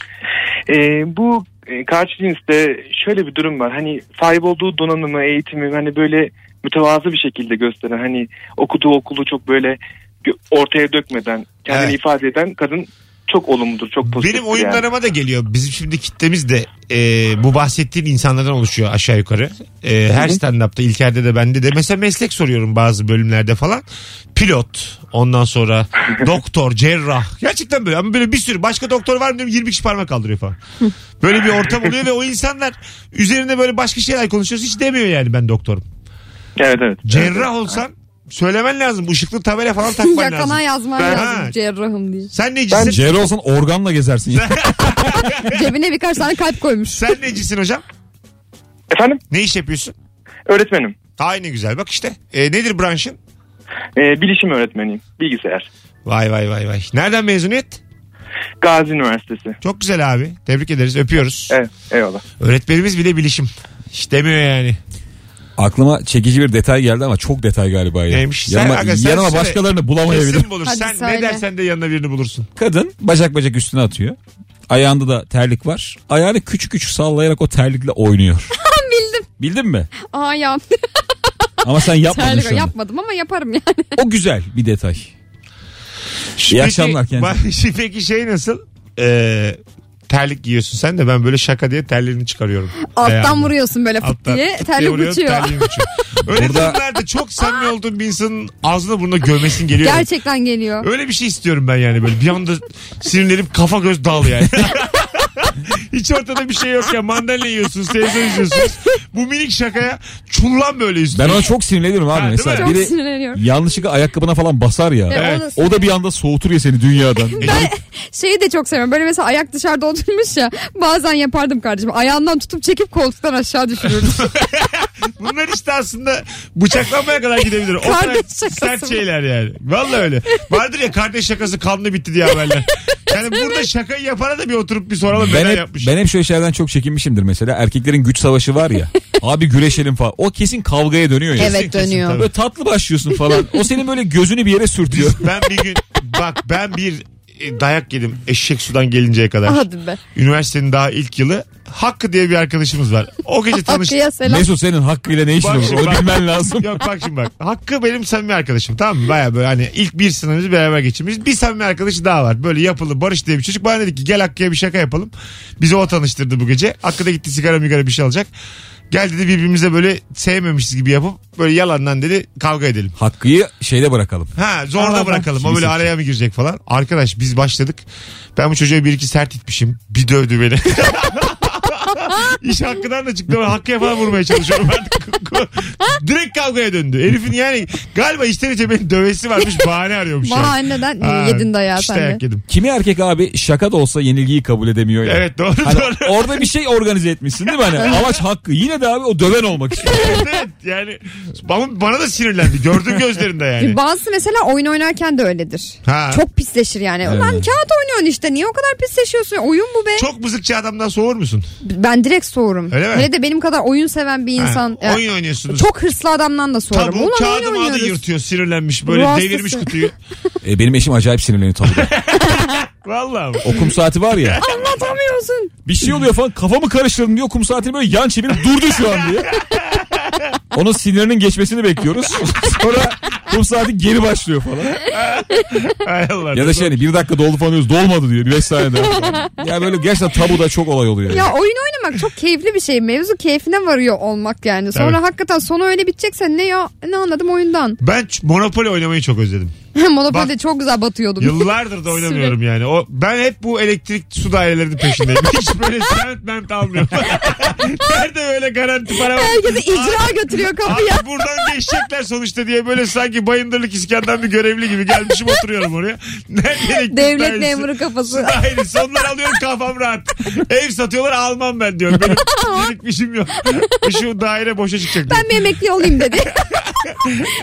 Ee, bu e, karşı cinste şöyle bir durum var. Hani sahip olduğu donanımı, eğitimi hani böyle mütevazı bir şekilde gösteren hani okuduğu okulu çok böyle gö- ortaya dökmeden kendini Evet. ifade eden kadın çok olumludur, çok pozitif. Benim oyunlarıma da geliyor. Bizim şimdi kitlemiz de e, bu bahsettiğin insanlardan oluşuyor aşağı yukarı. E, her stand-up'ta İlker'de de bende de. Mesela meslek soruyorum bazı bölümlerde falan. Pilot ondan sonra doktor, cerrah. Gerçekten böyle ama böyle bir sürü başka doktor var mı diyorum 20 kişi parmak kaldırıyor falan. Böyle bir ortam oluyor ve o insanlar üzerine böyle başka şeyler konuşuyoruz. Hiç demiyor yani ben doktorum. Evet evet. Cerrah olsan söylemen lazım. Işıklı tabela falan (laughs) takman lazım. Yakana yazman Ben- Ha. lazım cerrahım diye. Sen necisin? Cero olsan organla gezersin. (laughs) ya. Cebine birkaç tane kalp (laughs) koymuş. Sen necisin hocam? Efendim Ne iş yapıyorsun? öğretmenim. Aynı güzel bak işte. E, nedir branşın? Ee, bilişim öğretmeniyim. Bilgisayar. Vay vay vay vay. Nereden mezuniyet? Gazi Üniversitesi. Çok güzel abi. Tebrik ederiz. Öpüyoruz. Evet eyvallah. Öğretmenimiz bile bilişim. Hiç demiyor yani. Aklıma çekici bir detay geldi ama çok detay galiba ya. Neymiş? Sen- Yanıma, aga sen yanıma söyle. başkalarını bulamayabilirim. Kesin bulur. Hadi Sen ne söyle. dersen de yanına birini bulursun. Kadın bacak bacak üstüne atıyor. Ayağında da terlik var. Ayağını küçük küçük sallayarak o terlikle (laughs) oynuyor. Bildim. Bildin mi? Aa ya. Ama (laughs) sen yapmadın Terlik şu anda. yapmadım ama yaparım yani. O güzel bir detay. İyi akşamlar kendine. (laughs) Peki, peki şey nasıl? Ee, terlik giyiyorsun sen de ben böyle şaka diye terliğini çıkarıyorum. Alttan Ayağımdan. vuruyorsun böyle fıt Ee, Alttan diye. tık Terlik vuruyorum, uçuyor. terliğim uçuyor. Öyle Burada- durumlarda çok samimi olduğun bir insanın ağzına burnuna gömesin geliyor. Gerçekten geliyor. Öyle bir şey istiyorum ben yani böyle bir anda sinirlenip kafa göz dal (laughs) yani. Hiç ortada bir şey yok ya mandalina yiyorsunuz, sebze yiyorsunuz. Bu minik şakaya çullan böyle üstüne. Ben ona çok sinirleniyorum Ha, abi. değil Mesela mi? Çok biri sinirleniyorum. yanlışlıkla ayakkabına falan basar ya. Evet, o da O da bir anda soğutur ya seni dünyadan. (laughs) E, Şeyi de çok seviyorum. Böyle mesela ayak dışarıda oturmuş ya. Bazen yapardım kardeşim. Ayağından tutup çekip koltuktan aşağı düşürürdüm. Bunlar işte aslında bıçaklanmaya kadar gidebilir. O Kardeş tarz şakası sert mı? şeyler yani. Vallahi öyle. Vardır ya kardeş şakası kanlı bitti diye haberler. Yani burada şakayı yapana da bir oturup bir soralım ben neden hep, yapmış. ben hep şöyle şeylerden çok çekinmişimdir mesela. Erkeklerin güç savaşı var (laughs) ya. abi güreşelim falan. O kesin kavgaya dönüyor ya. evet dönüyor. Böyle tatlı başlıyorsun falan. O senin böyle gözünü bir yere sürtüyor. Ben bir gün bak ben bir e, dayak yedim eşek sudan gelinceye kadar. Hadi be. Üniversitenin daha ilk yılı. Hakkı diye bir arkadaşımız var. O gece tanıştık. Hakkı'ya selam. Mesut senin hakkıyla ne işin Bak olur? şimdi Onu bak. bilmen lazım. Yok bak şimdi bak. Hakkı benim samimi arkadaşım tamam mı? Baya böyle hani ilk bir sınavımızı beraber geçirmişiz. Bir samimi arkadaşı daha var. Böyle yapılı Barış diye bir çocuk. Bana dedi ki gel Hakkı'ya bir şaka yapalım. Bizi o tanıştırdı bu gece. Hakkı da gitti sigara migara bir şey alacak. Gel dedi birbirimize böyle sevmemişiz gibi yapıp böyle yalandan dedi kavga edelim. Hakkıyı şeyde bırakalım. Ha zorla Aa, bırakalım. bak. O böyle Kimse- araya mı girecek falan. Arkadaş biz başladık. Ben bu çocuğa bir iki sert itmişim. Bir dövdü beni. (laughs) İş hakkından da çıktı. Hakkıya falan vurmaya çalışıyorum artık. Direkt kavgaya döndü. Herifin yani galiba içten içe beni dövesi varmış bahane arıyormuş. yani. Bahaneden Ha, yedin dayağı işte sen de. dayak yedim. Kimi erkek abi şaka da olsa yenilgiyi kabul edemiyor ya. Evet (laughs) doğru Hani doğru. orada bir şey organize etmişsin değil mi? Hani amaç hakkı. Yine de abi o döven olmak istiyor. evet yani bana, bana da sinirlendi. Gördüm gözlerinde yani. Bazısı mesela oyun oynarken de öyledir. Hani- Ha. Çok pisleşir yani. Evet. Lan kağıt oynuyorsun işte. Niye o kadar pisleşiyorsun? Oyun bu be. Çok mızıkçı adamdan soğur musun? Ben direkt soğurum. Öyle mi? Hele de benim kadar oyun seven bir Ha, insan. yani oyun oynuyorsunuz. çok hırslı adamdan da soğurum. Tabii o Ulan oyun kağıdı mağadı oynuyoruz. yırtıyor sinirlenmiş böyle Ruh hastası. devirmiş kutuyu. E, benim eşim acayip sinirleniyor tabii. Vallahi (laughs) bak. O kum saati var ya. Anlatamıyorsun. Bir şey oluyor falan kafamı karıştırdım diyor. Kum saatini böyle yan çevirip durdu şu an diye. Onun sinirinin geçmesini bekliyoruz. (laughs) Sonra kum saati geri başlıyor falan. Hay Allah. Ya da şey hani bir dakika doldu falan diyoruz. Dolmadı diyor. Bir beş saniye daha. Ya böyle gerçekten tabuda çok olay oluyor. Ya oyun oynamak çok keyifli bir şey. Mevzu keyfine varıyor olmak yani. Sonra Evet. hakikaten sonu öyle bitecekse ne ya? Ne anladım oyundan? (laughs) Ben ç- Monopoly oynamayı çok özledim. Monopoly'de çok güzel batıyordum. (laughs) Yıllardır da oynamıyorum yani. O ben hep bu elektrik su dairelerinin (laughs) peşindeyim. Hiç böyle semt ment almıyorum. (laughs) Nerede böyle garanti para var? Herkese icra götürüyor Abi kapıya. buradan geçecekler sonuçta diye böyle sanki bayındırlık iskandan bir görevli gibi gelmişim oturuyorum oraya. Nerede elektrik (laughs) Devlet dairesi? memuru kafası. Dairesi. Onlar alıyorum kafam rahat. Ev satıyorlar almam ben diyorum. Benim (laughs) birikmişim yok. Şu daire boşa çıkacak. diyor. Ben bir emekli olayım dedi. (laughs)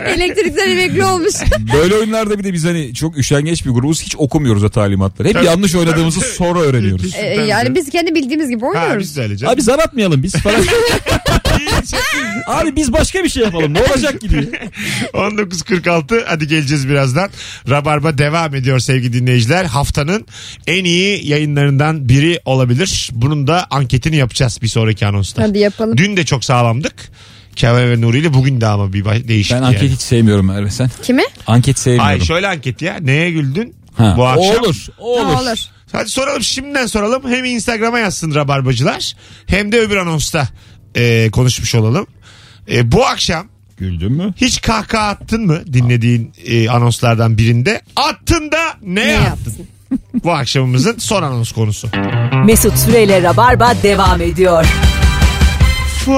Elektrikten emekli olmuş. Böyle oyunlarda bir de biz hani çok üşengeç bir grubuz. Hiç okumuyoruz o talimatları. Hep Tabii. (laughs) yanlış oynadığımızı sonra öğreniyoruz. Ee, yani biz kendi bildiğimiz gibi Ha biz oynuyoruz. söyleyeceğiz. Abi zar atmayalım (laughs) biz falan. İyice. Abi biz başka bir şey yapalım. Ne olacak ki diye. 19.46 hadi geleceğiz birazdan. Rabarba devam ediyor sevgili dinleyiciler. Haftanın en iyi yayınlarından biri olabilir. Bunun da anketini yapacağız bir sonraki anonsta. Hadi yapalım. Dün de çok sağlamdık. Kemal ve Nuri ile bugün de ama bir ba- değişik. Ben yani. anket hiç sevmiyorum Merve sen. Kimi? Anket sevmiyorum. Ay şöyle anket ya. Neye güldün? Ha. Bu akşam. Olur. Ne Olur. olur. Hadi soralım şimdiden soralım. Hem Instagram'a yazsın rabarbacılar hem de öbür anonsta e, konuşmuş olalım. E, bu akşam Güldün mü? hiç kahkaha attın mı dinlediğin e, anonslardan birinde? Attın da ne, Ne yaptın? yaptın? Bu akşamımızın son anons konusu. Mesut Süreyle Rabarba devam ediyor. Fly,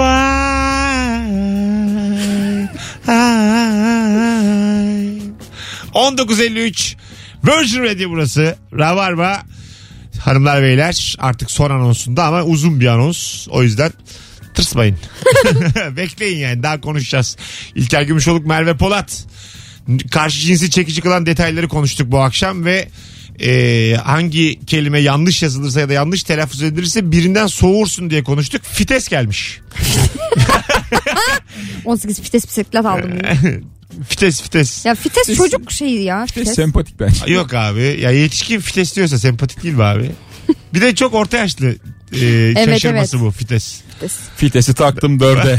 1953 Virgin Radio burası. Rabarba hanımlar beyler artık son anonsunda ama uzun bir anons. O yüzden tırsmayın. Bekleyin yani daha konuşacağız. İlker Gümüşoluk, Merve Polat. Karşı cinsi çekici kılan detayları konuştuk bu akşam ve e, hangi kelime yanlış yazılırsa ya da yanlış telaffuz edilirse birinden soğursun diye konuştuk. Fites gelmiş. 18 fites bisiklet aldım. fites fites. ya fites çocuk şeyi ya. Fites. Sempatik bence. Yok abi ya yetişkin fites diyorsa sempatik değil mi (laughs) abi? Bir de çok orta yaşlı e, şaşırması bu fites. Fitesi (laughs) taktım dörde.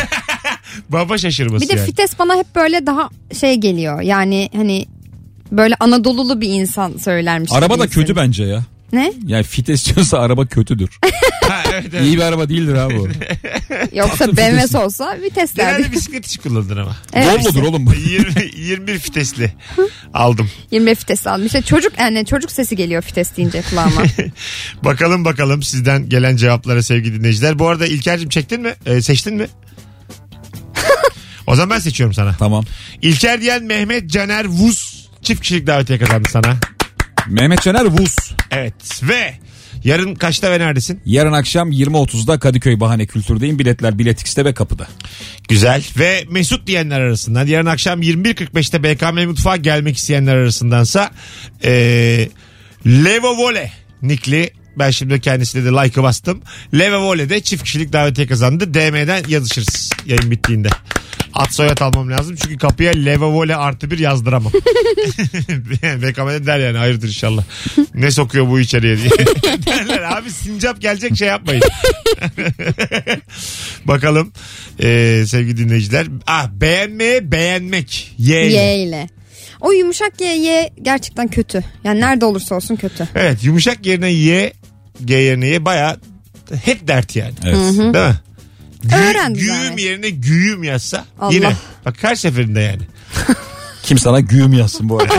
Baba şaşırması Bir de yani. fites bana hep böyle daha şey geliyor. Yani hani böyle Anadolu'lu bir insan söylermiş. araba gibi da kötü hissediyorum. bence ya. Ne? Yani fites diyorsa araba kötüdür. Ha, (laughs) evet, evet. İyi bir araba değildir abi o. Yoksa BMS olsa vites derdi. Genelde bisiklet işi kullandın ama. (laughs) Evet. Volvo'dur oğlum (laughs) bu. (laughs) 20, 21 fitesli aldım. 20 fites almış. İşte çocuk yani çocuk sesi geliyor fites deyince kulağıma. Bakalım bakalım sizden gelen cevaplara sevgili dinleyiciler. Bu arada İlker'cim çektin mi? Ee, seçtin (laughs) mi? o zaman ben seçiyorum sana. Tamam. İlker diyen Mehmet Caner Vuz çift kişilik davetiye kazandı sana. Mehmet Caner Vuz. Evet ve yarın kaçta ve neredesin? Yarın akşam 20.30'da Kadıköy Bahane Kültür'deyim. Biletler Biletix'te ve kapıda. Güzel. Ve Mesut diyenler arasından yarın akşam 21.45'te BKM Mutfağı gelmek isteyenler arasındansa eee Levo Vole nikli ben şimdi kendisine de like'ı bastım. Levo Vole'de çift kişilik davetiye kazandı. DM'den yazışırız yayın bittiğinde. At soyad almam lazım çünkü kapıya Levo Vole artı bir yazdıramam. (laughs) BKM'de der yani hayırdır inşallah. Ne sokuyor bu içeriye diye. (laughs) Derler abi sincap gelecek şey yapmayın. (laughs) Bakalım eee, sevgili dinleyiciler. Ah beğenmeye beğenmek. Ye. ile. y ile. O yumuşak y y gerçekten kötü. Yani nerede olursa olsun kötü. Evet yumuşak yerine ye. G yerine ye baya hep dert yani. Evet. Değil mi? Gü- Öğrendim güğüm yani. yerine güğüm yazsa Allah. yine. Bak her seferinde yani. Kim sana güğüm yazsın bu arada.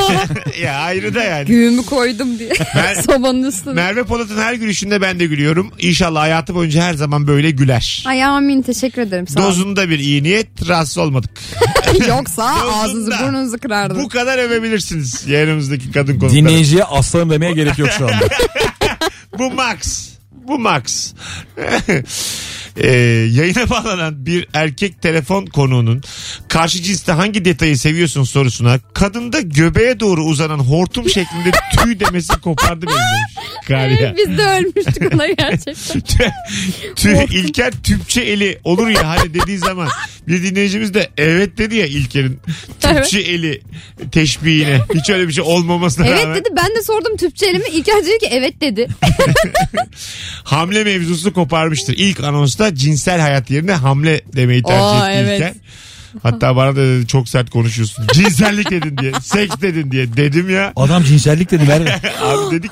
(laughs) Şey, ya ayrı da yani. Güğümü koydum diye. Ben- (laughs) Sobanın üstüne. Merve Polat'ın her gülüşünde ben de gülüyorum. İnşallah hayatı boyunca her zaman böyle güler. Ay amin teşekkür ederim sağ olun. Dozunda bir iyi niyet rahatsız olmadık. (laughs) Yoksa Dozunda. ağzınızı burnunuzu kırardım. Bu kadar övebilirsiniz yanımızdaki kadın konukları. Dinleyiciye aslanım demeye gerek yok şu anda. Bu Max. Bu Max. (laughs) Ee, yayına bağlanan bir erkek telefon konuğunun karşı cinste hangi detayı seviyorsun sorusuna kadında göbeğe doğru uzanan hortum şeklinde tüy demesi kopardı beni demiş. Kariyer. Evet, Ee, biz de ölmüştük ona gerçekten. (laughs) Tü- tü, İlker tüpçe eli olur ya hani dediği zaman bir dinleyicimiz de evet dedi ya İlker'in tüpçe eli teşbihine hiç öyle bir şey olmamasına rağmen evet dedi ben de sordum tüpçü elimi. İlker dedi ki evet dedi. hamle mevzusu koparmıştır. İlk anonsta cinsel hayat yerine hamle demeyi tercih Aa, etti evet. İlker. Hatta bana da dedi, çok sert konuşuyorsun. (laughs) Cinsellik dedin diye. Seks dedin diye. Dedim ya. Adam cinsellik dedi Merve. Abi dedik.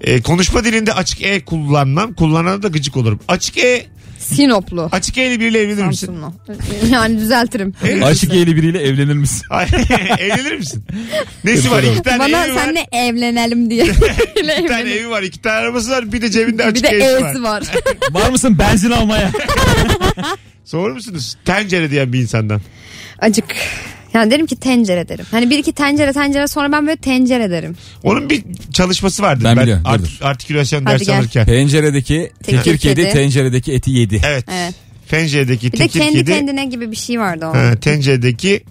E, konuşma dilinde açık E kullanmam. Kullanana da gıcık olurum. Açık E Sinoplu. açık E ile biriyle evlenir misin? Samsunlu. Yani düzeltirim. Ee, Aşık yeni biriyle evlenir misin? Ay, (laughs) Evlenir misin? Nesi var? İki tane Bana evi var. senle (laughs) evlenelim diye. Öyle İki tane evlenelim. evi var. iki tane arabası var. Bir de cebinde Bir açık de E'si var. E'si var. Var mısın benzin almaya? Soğur musunuz? Tencere diyen bir insandan. Acık. Yani derim ki tencere derim. Hani bir iki tencere tencere sonra ben böyle tencere derim. Onun bir çalışması vardı. Ben biliyorum, art- dur, dur. artikülasyon Hadi dersi gel. alırken. Penceredeki Tekir tekir kedi kedi. tenceredeki eti yedi. Evet. Evet. Penceredeki Bir de tekir kendi kedi. kendine gibi bir şey vardı onun. Ha, (laughs) tenceredeki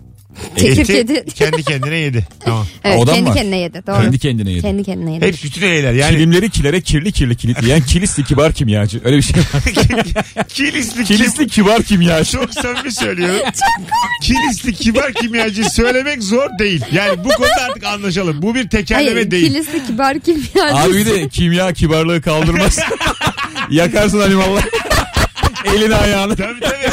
Tekir eti kedi. kendi kendine yedi. (laughs) Tamam. Evet, Odan kendi var. kendine yedi. Doğru. Kendi kendine yedi. Kendi kendine yedi. Hep bütün eyler. Yani Kilimleri kilere kirli kirli kilitleyen kilisli kibar kimyacı. Öyle bir şey (laughs) var. (laughs) kilisli, kilisli. kilisli kibar kimyacı. çok samimi (laughs) söylüyorum. kilisli kibar kimyacı söylemek zor değil. Yani bu konuda artık anlaşalım. Bu bir tekerleme Hayır, değil. kilisi kibar kimyacı. Abi bir de kimya kibarlığı (laughs) kaldırmaz. Yakarsın hani valla. Elini ayağını. Tabii tabii.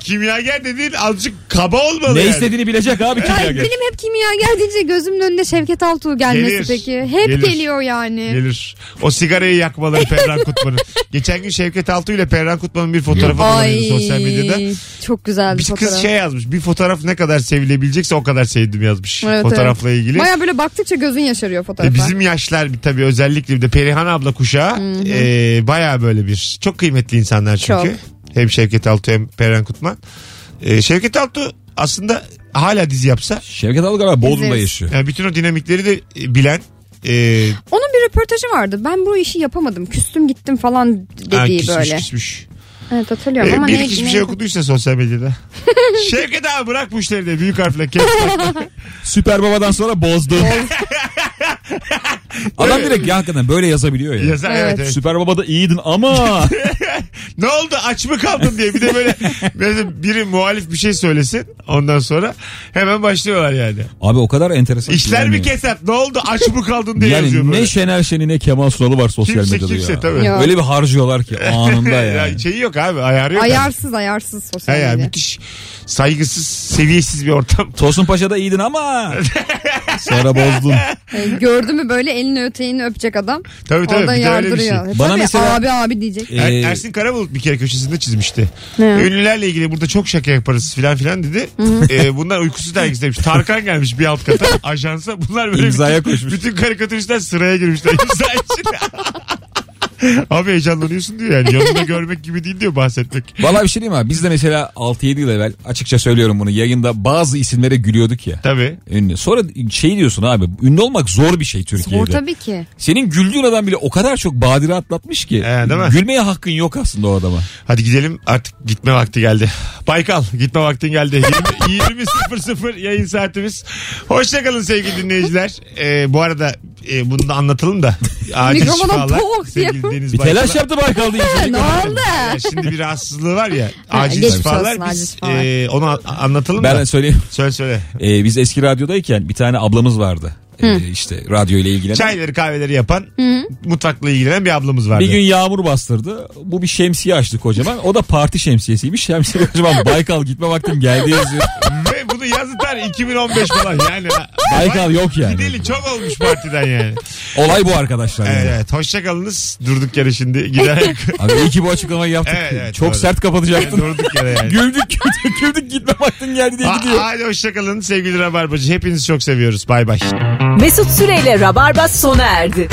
Kimyager dediğin azıcık kaba olmalı Ne yani. istediğini bilecek abi Ay, kimyager. benim hep kimya geldiğince gözümün önünde Şevket Altuğ gelmesi Gelir, peki. Hep gelir. geliyor yani. Gelir. O sigarayı yakmaları Ferran Kutman'ın. Geçen gün Şevket Altuğ ile Ferran Kutman'ın bir fotoğrafı Ay dolanıyordu sosyal medyada. çok güzel bir Bir fotoğraf. kız şey yazmış. Bir fotoğraf ne kadar sevilebilecekse o kadar sevdim yazmış. Evet, Fotoğrafla ilgili. Baya böyle baktıkça gözün yaşarıyor E, fotoğrafa. bizim yaşlar bir tabii özellikle bir de Perihan abla kuşağı e, baya böyle bir çok kıymetli insanlar çünkü. Hem Şevket Altuğ hem Perihan Kutman. E, Şevket Altuğ aslında hala dizi yapsa Şevket Algar abi Bodrum'da İzleriz. yaşıyor. yani bütün o dinamikleri de e, bilen e, Onun bir röportajı vardı. Ben bu işi yapamadım. Küstüm gittim falan dediği ha, küsmüş, böyle. küsmüş. Evet hatırlıyorum E, ama bir ne, iki hiçbir ne- şey okuduysa sosyal (laughs) medyada. Şevket abi bırak bu işleri de büyük harfle. caps lock'la. Süper Baba'dan sonra bozdu. (laughs) Adam direkt ya hakikaten böyle yazabiliyor ya. Yazar evet. Evet. evet. Süper Baba'da iyiydin (laughs) ama Ne oldu aç mı kaldın diye bir de (laughs) böyle mesela biri muhalif bir şey söylesin ondan sonra hemen başlıyorlar yani. abi o kadar enteresan. ki İşler yani. mi kesap ne oldu aç mı kaldın diye yazıyor Yani böyle. ne Şener Şen'i ne Kemal Sunal'ı var sosyal Kimse medyada kimse ya. tabii. Yok. Öyle bir harcıyorlar ki (laughs) anında yani. ya şeyi yok abi ayarı yok. abi. Ayarsız ayarsız Ha sosyal ya, medya. müthiş saygısız seviyesiz bir ortam. (laughs) Tosun Paşa'da iyiydin ama sonra bozdun. E, gördü mü böyle elini öteğini öpecek adam. Tabii tabii Orada bir de öyle bir şey. yardırıyor. E, Bana Tabii, mesela- abi abi diyecek. Ee, Er- Ersin Karabulut bir kere köşesinde çizmişti. Ne? Ünlülerle ilgili burada çok şaka yaparız filan filan dedi. Ee, bunlar uykusuz dergisi demiş. Tarkan gelmiş bir alt kata ajansa. Bunlar böyle İmzaya bütün, koşmuş. bütün karikatüristler sıraya girmişler imza (laughs) için. Abi heyecanlanıyorsun diyor yani. Yanında görmek gibi değil diyor bahsetmek. Vallahi bir şey diyeyim abi biz de mesela 6-7 yıl evvel açıkça söylüyorum bunu yayında bazı isimlere gülüyorduk ya. Tabii. Ünlü. Sonra şey diyorsun abi ünlü olmak zor bir şey Türkiye'de. Zor tabii ki. Senin güldüğün adam bile o kadar çok badire atlatmış ki. He, Ee, değil mi? Gülmeye hakkın yok aslında o adama. Hadi gidelim artık gitme vakti geldi. Baykal gitme vaktin geldi. 20, 20.00 yayın saatimiz. Hoşçakalın sevgili dinleyiciler. Ee, bu arada e, bunu da anlatalım da. Acil Mikrofonum şifalar. tok Sevgili diye. Deniz Bir Baykal'a. telaş yaptı Baykal diye. ne oldu? Ya şimdi bir rahatsızlığı var ya. Acil geçmiş şifalar. olsun, Biz acil şifalar. e, onu a- anlatalım Ben da. söyleyeyim. Söyle söyle. Ee, biz eski radyodayken bir tane ablamız vardı. Ee, işte radyo ile ilgilenen. Çayları kahveleri yapan, mutfakla ilgilenen bir ablamız vardı. Bir gün yağmur bastırdı. Bu bir şemsiye açtı kocaman. O da parti şemsiyesiymiş. Şemsiye kocaman Baykal gitme vaktim geldi yazıyor. Ve bunu yazı Bunlar 2015 falan yani. Baykal yok yani. Gideli çok olmuş partiden yani. Olay bu arkadaşlar. yani. Evet, hoşçakalınız. Durduk yere şimdi giderek. Abi iyi ki bu açıklamayı yaptık. Evet, evet, Çok doğru. sert kapatacaktın. Durduk yere yani. güldük güldük güldük gitme vaktin geldi diye Ha- gidiyor. Hadi hoşçakalın sevgili Rabarbacı. Hepinizi çok seviyoruz. Bay bay. Mesut Süreyle Rabarba sona erdi.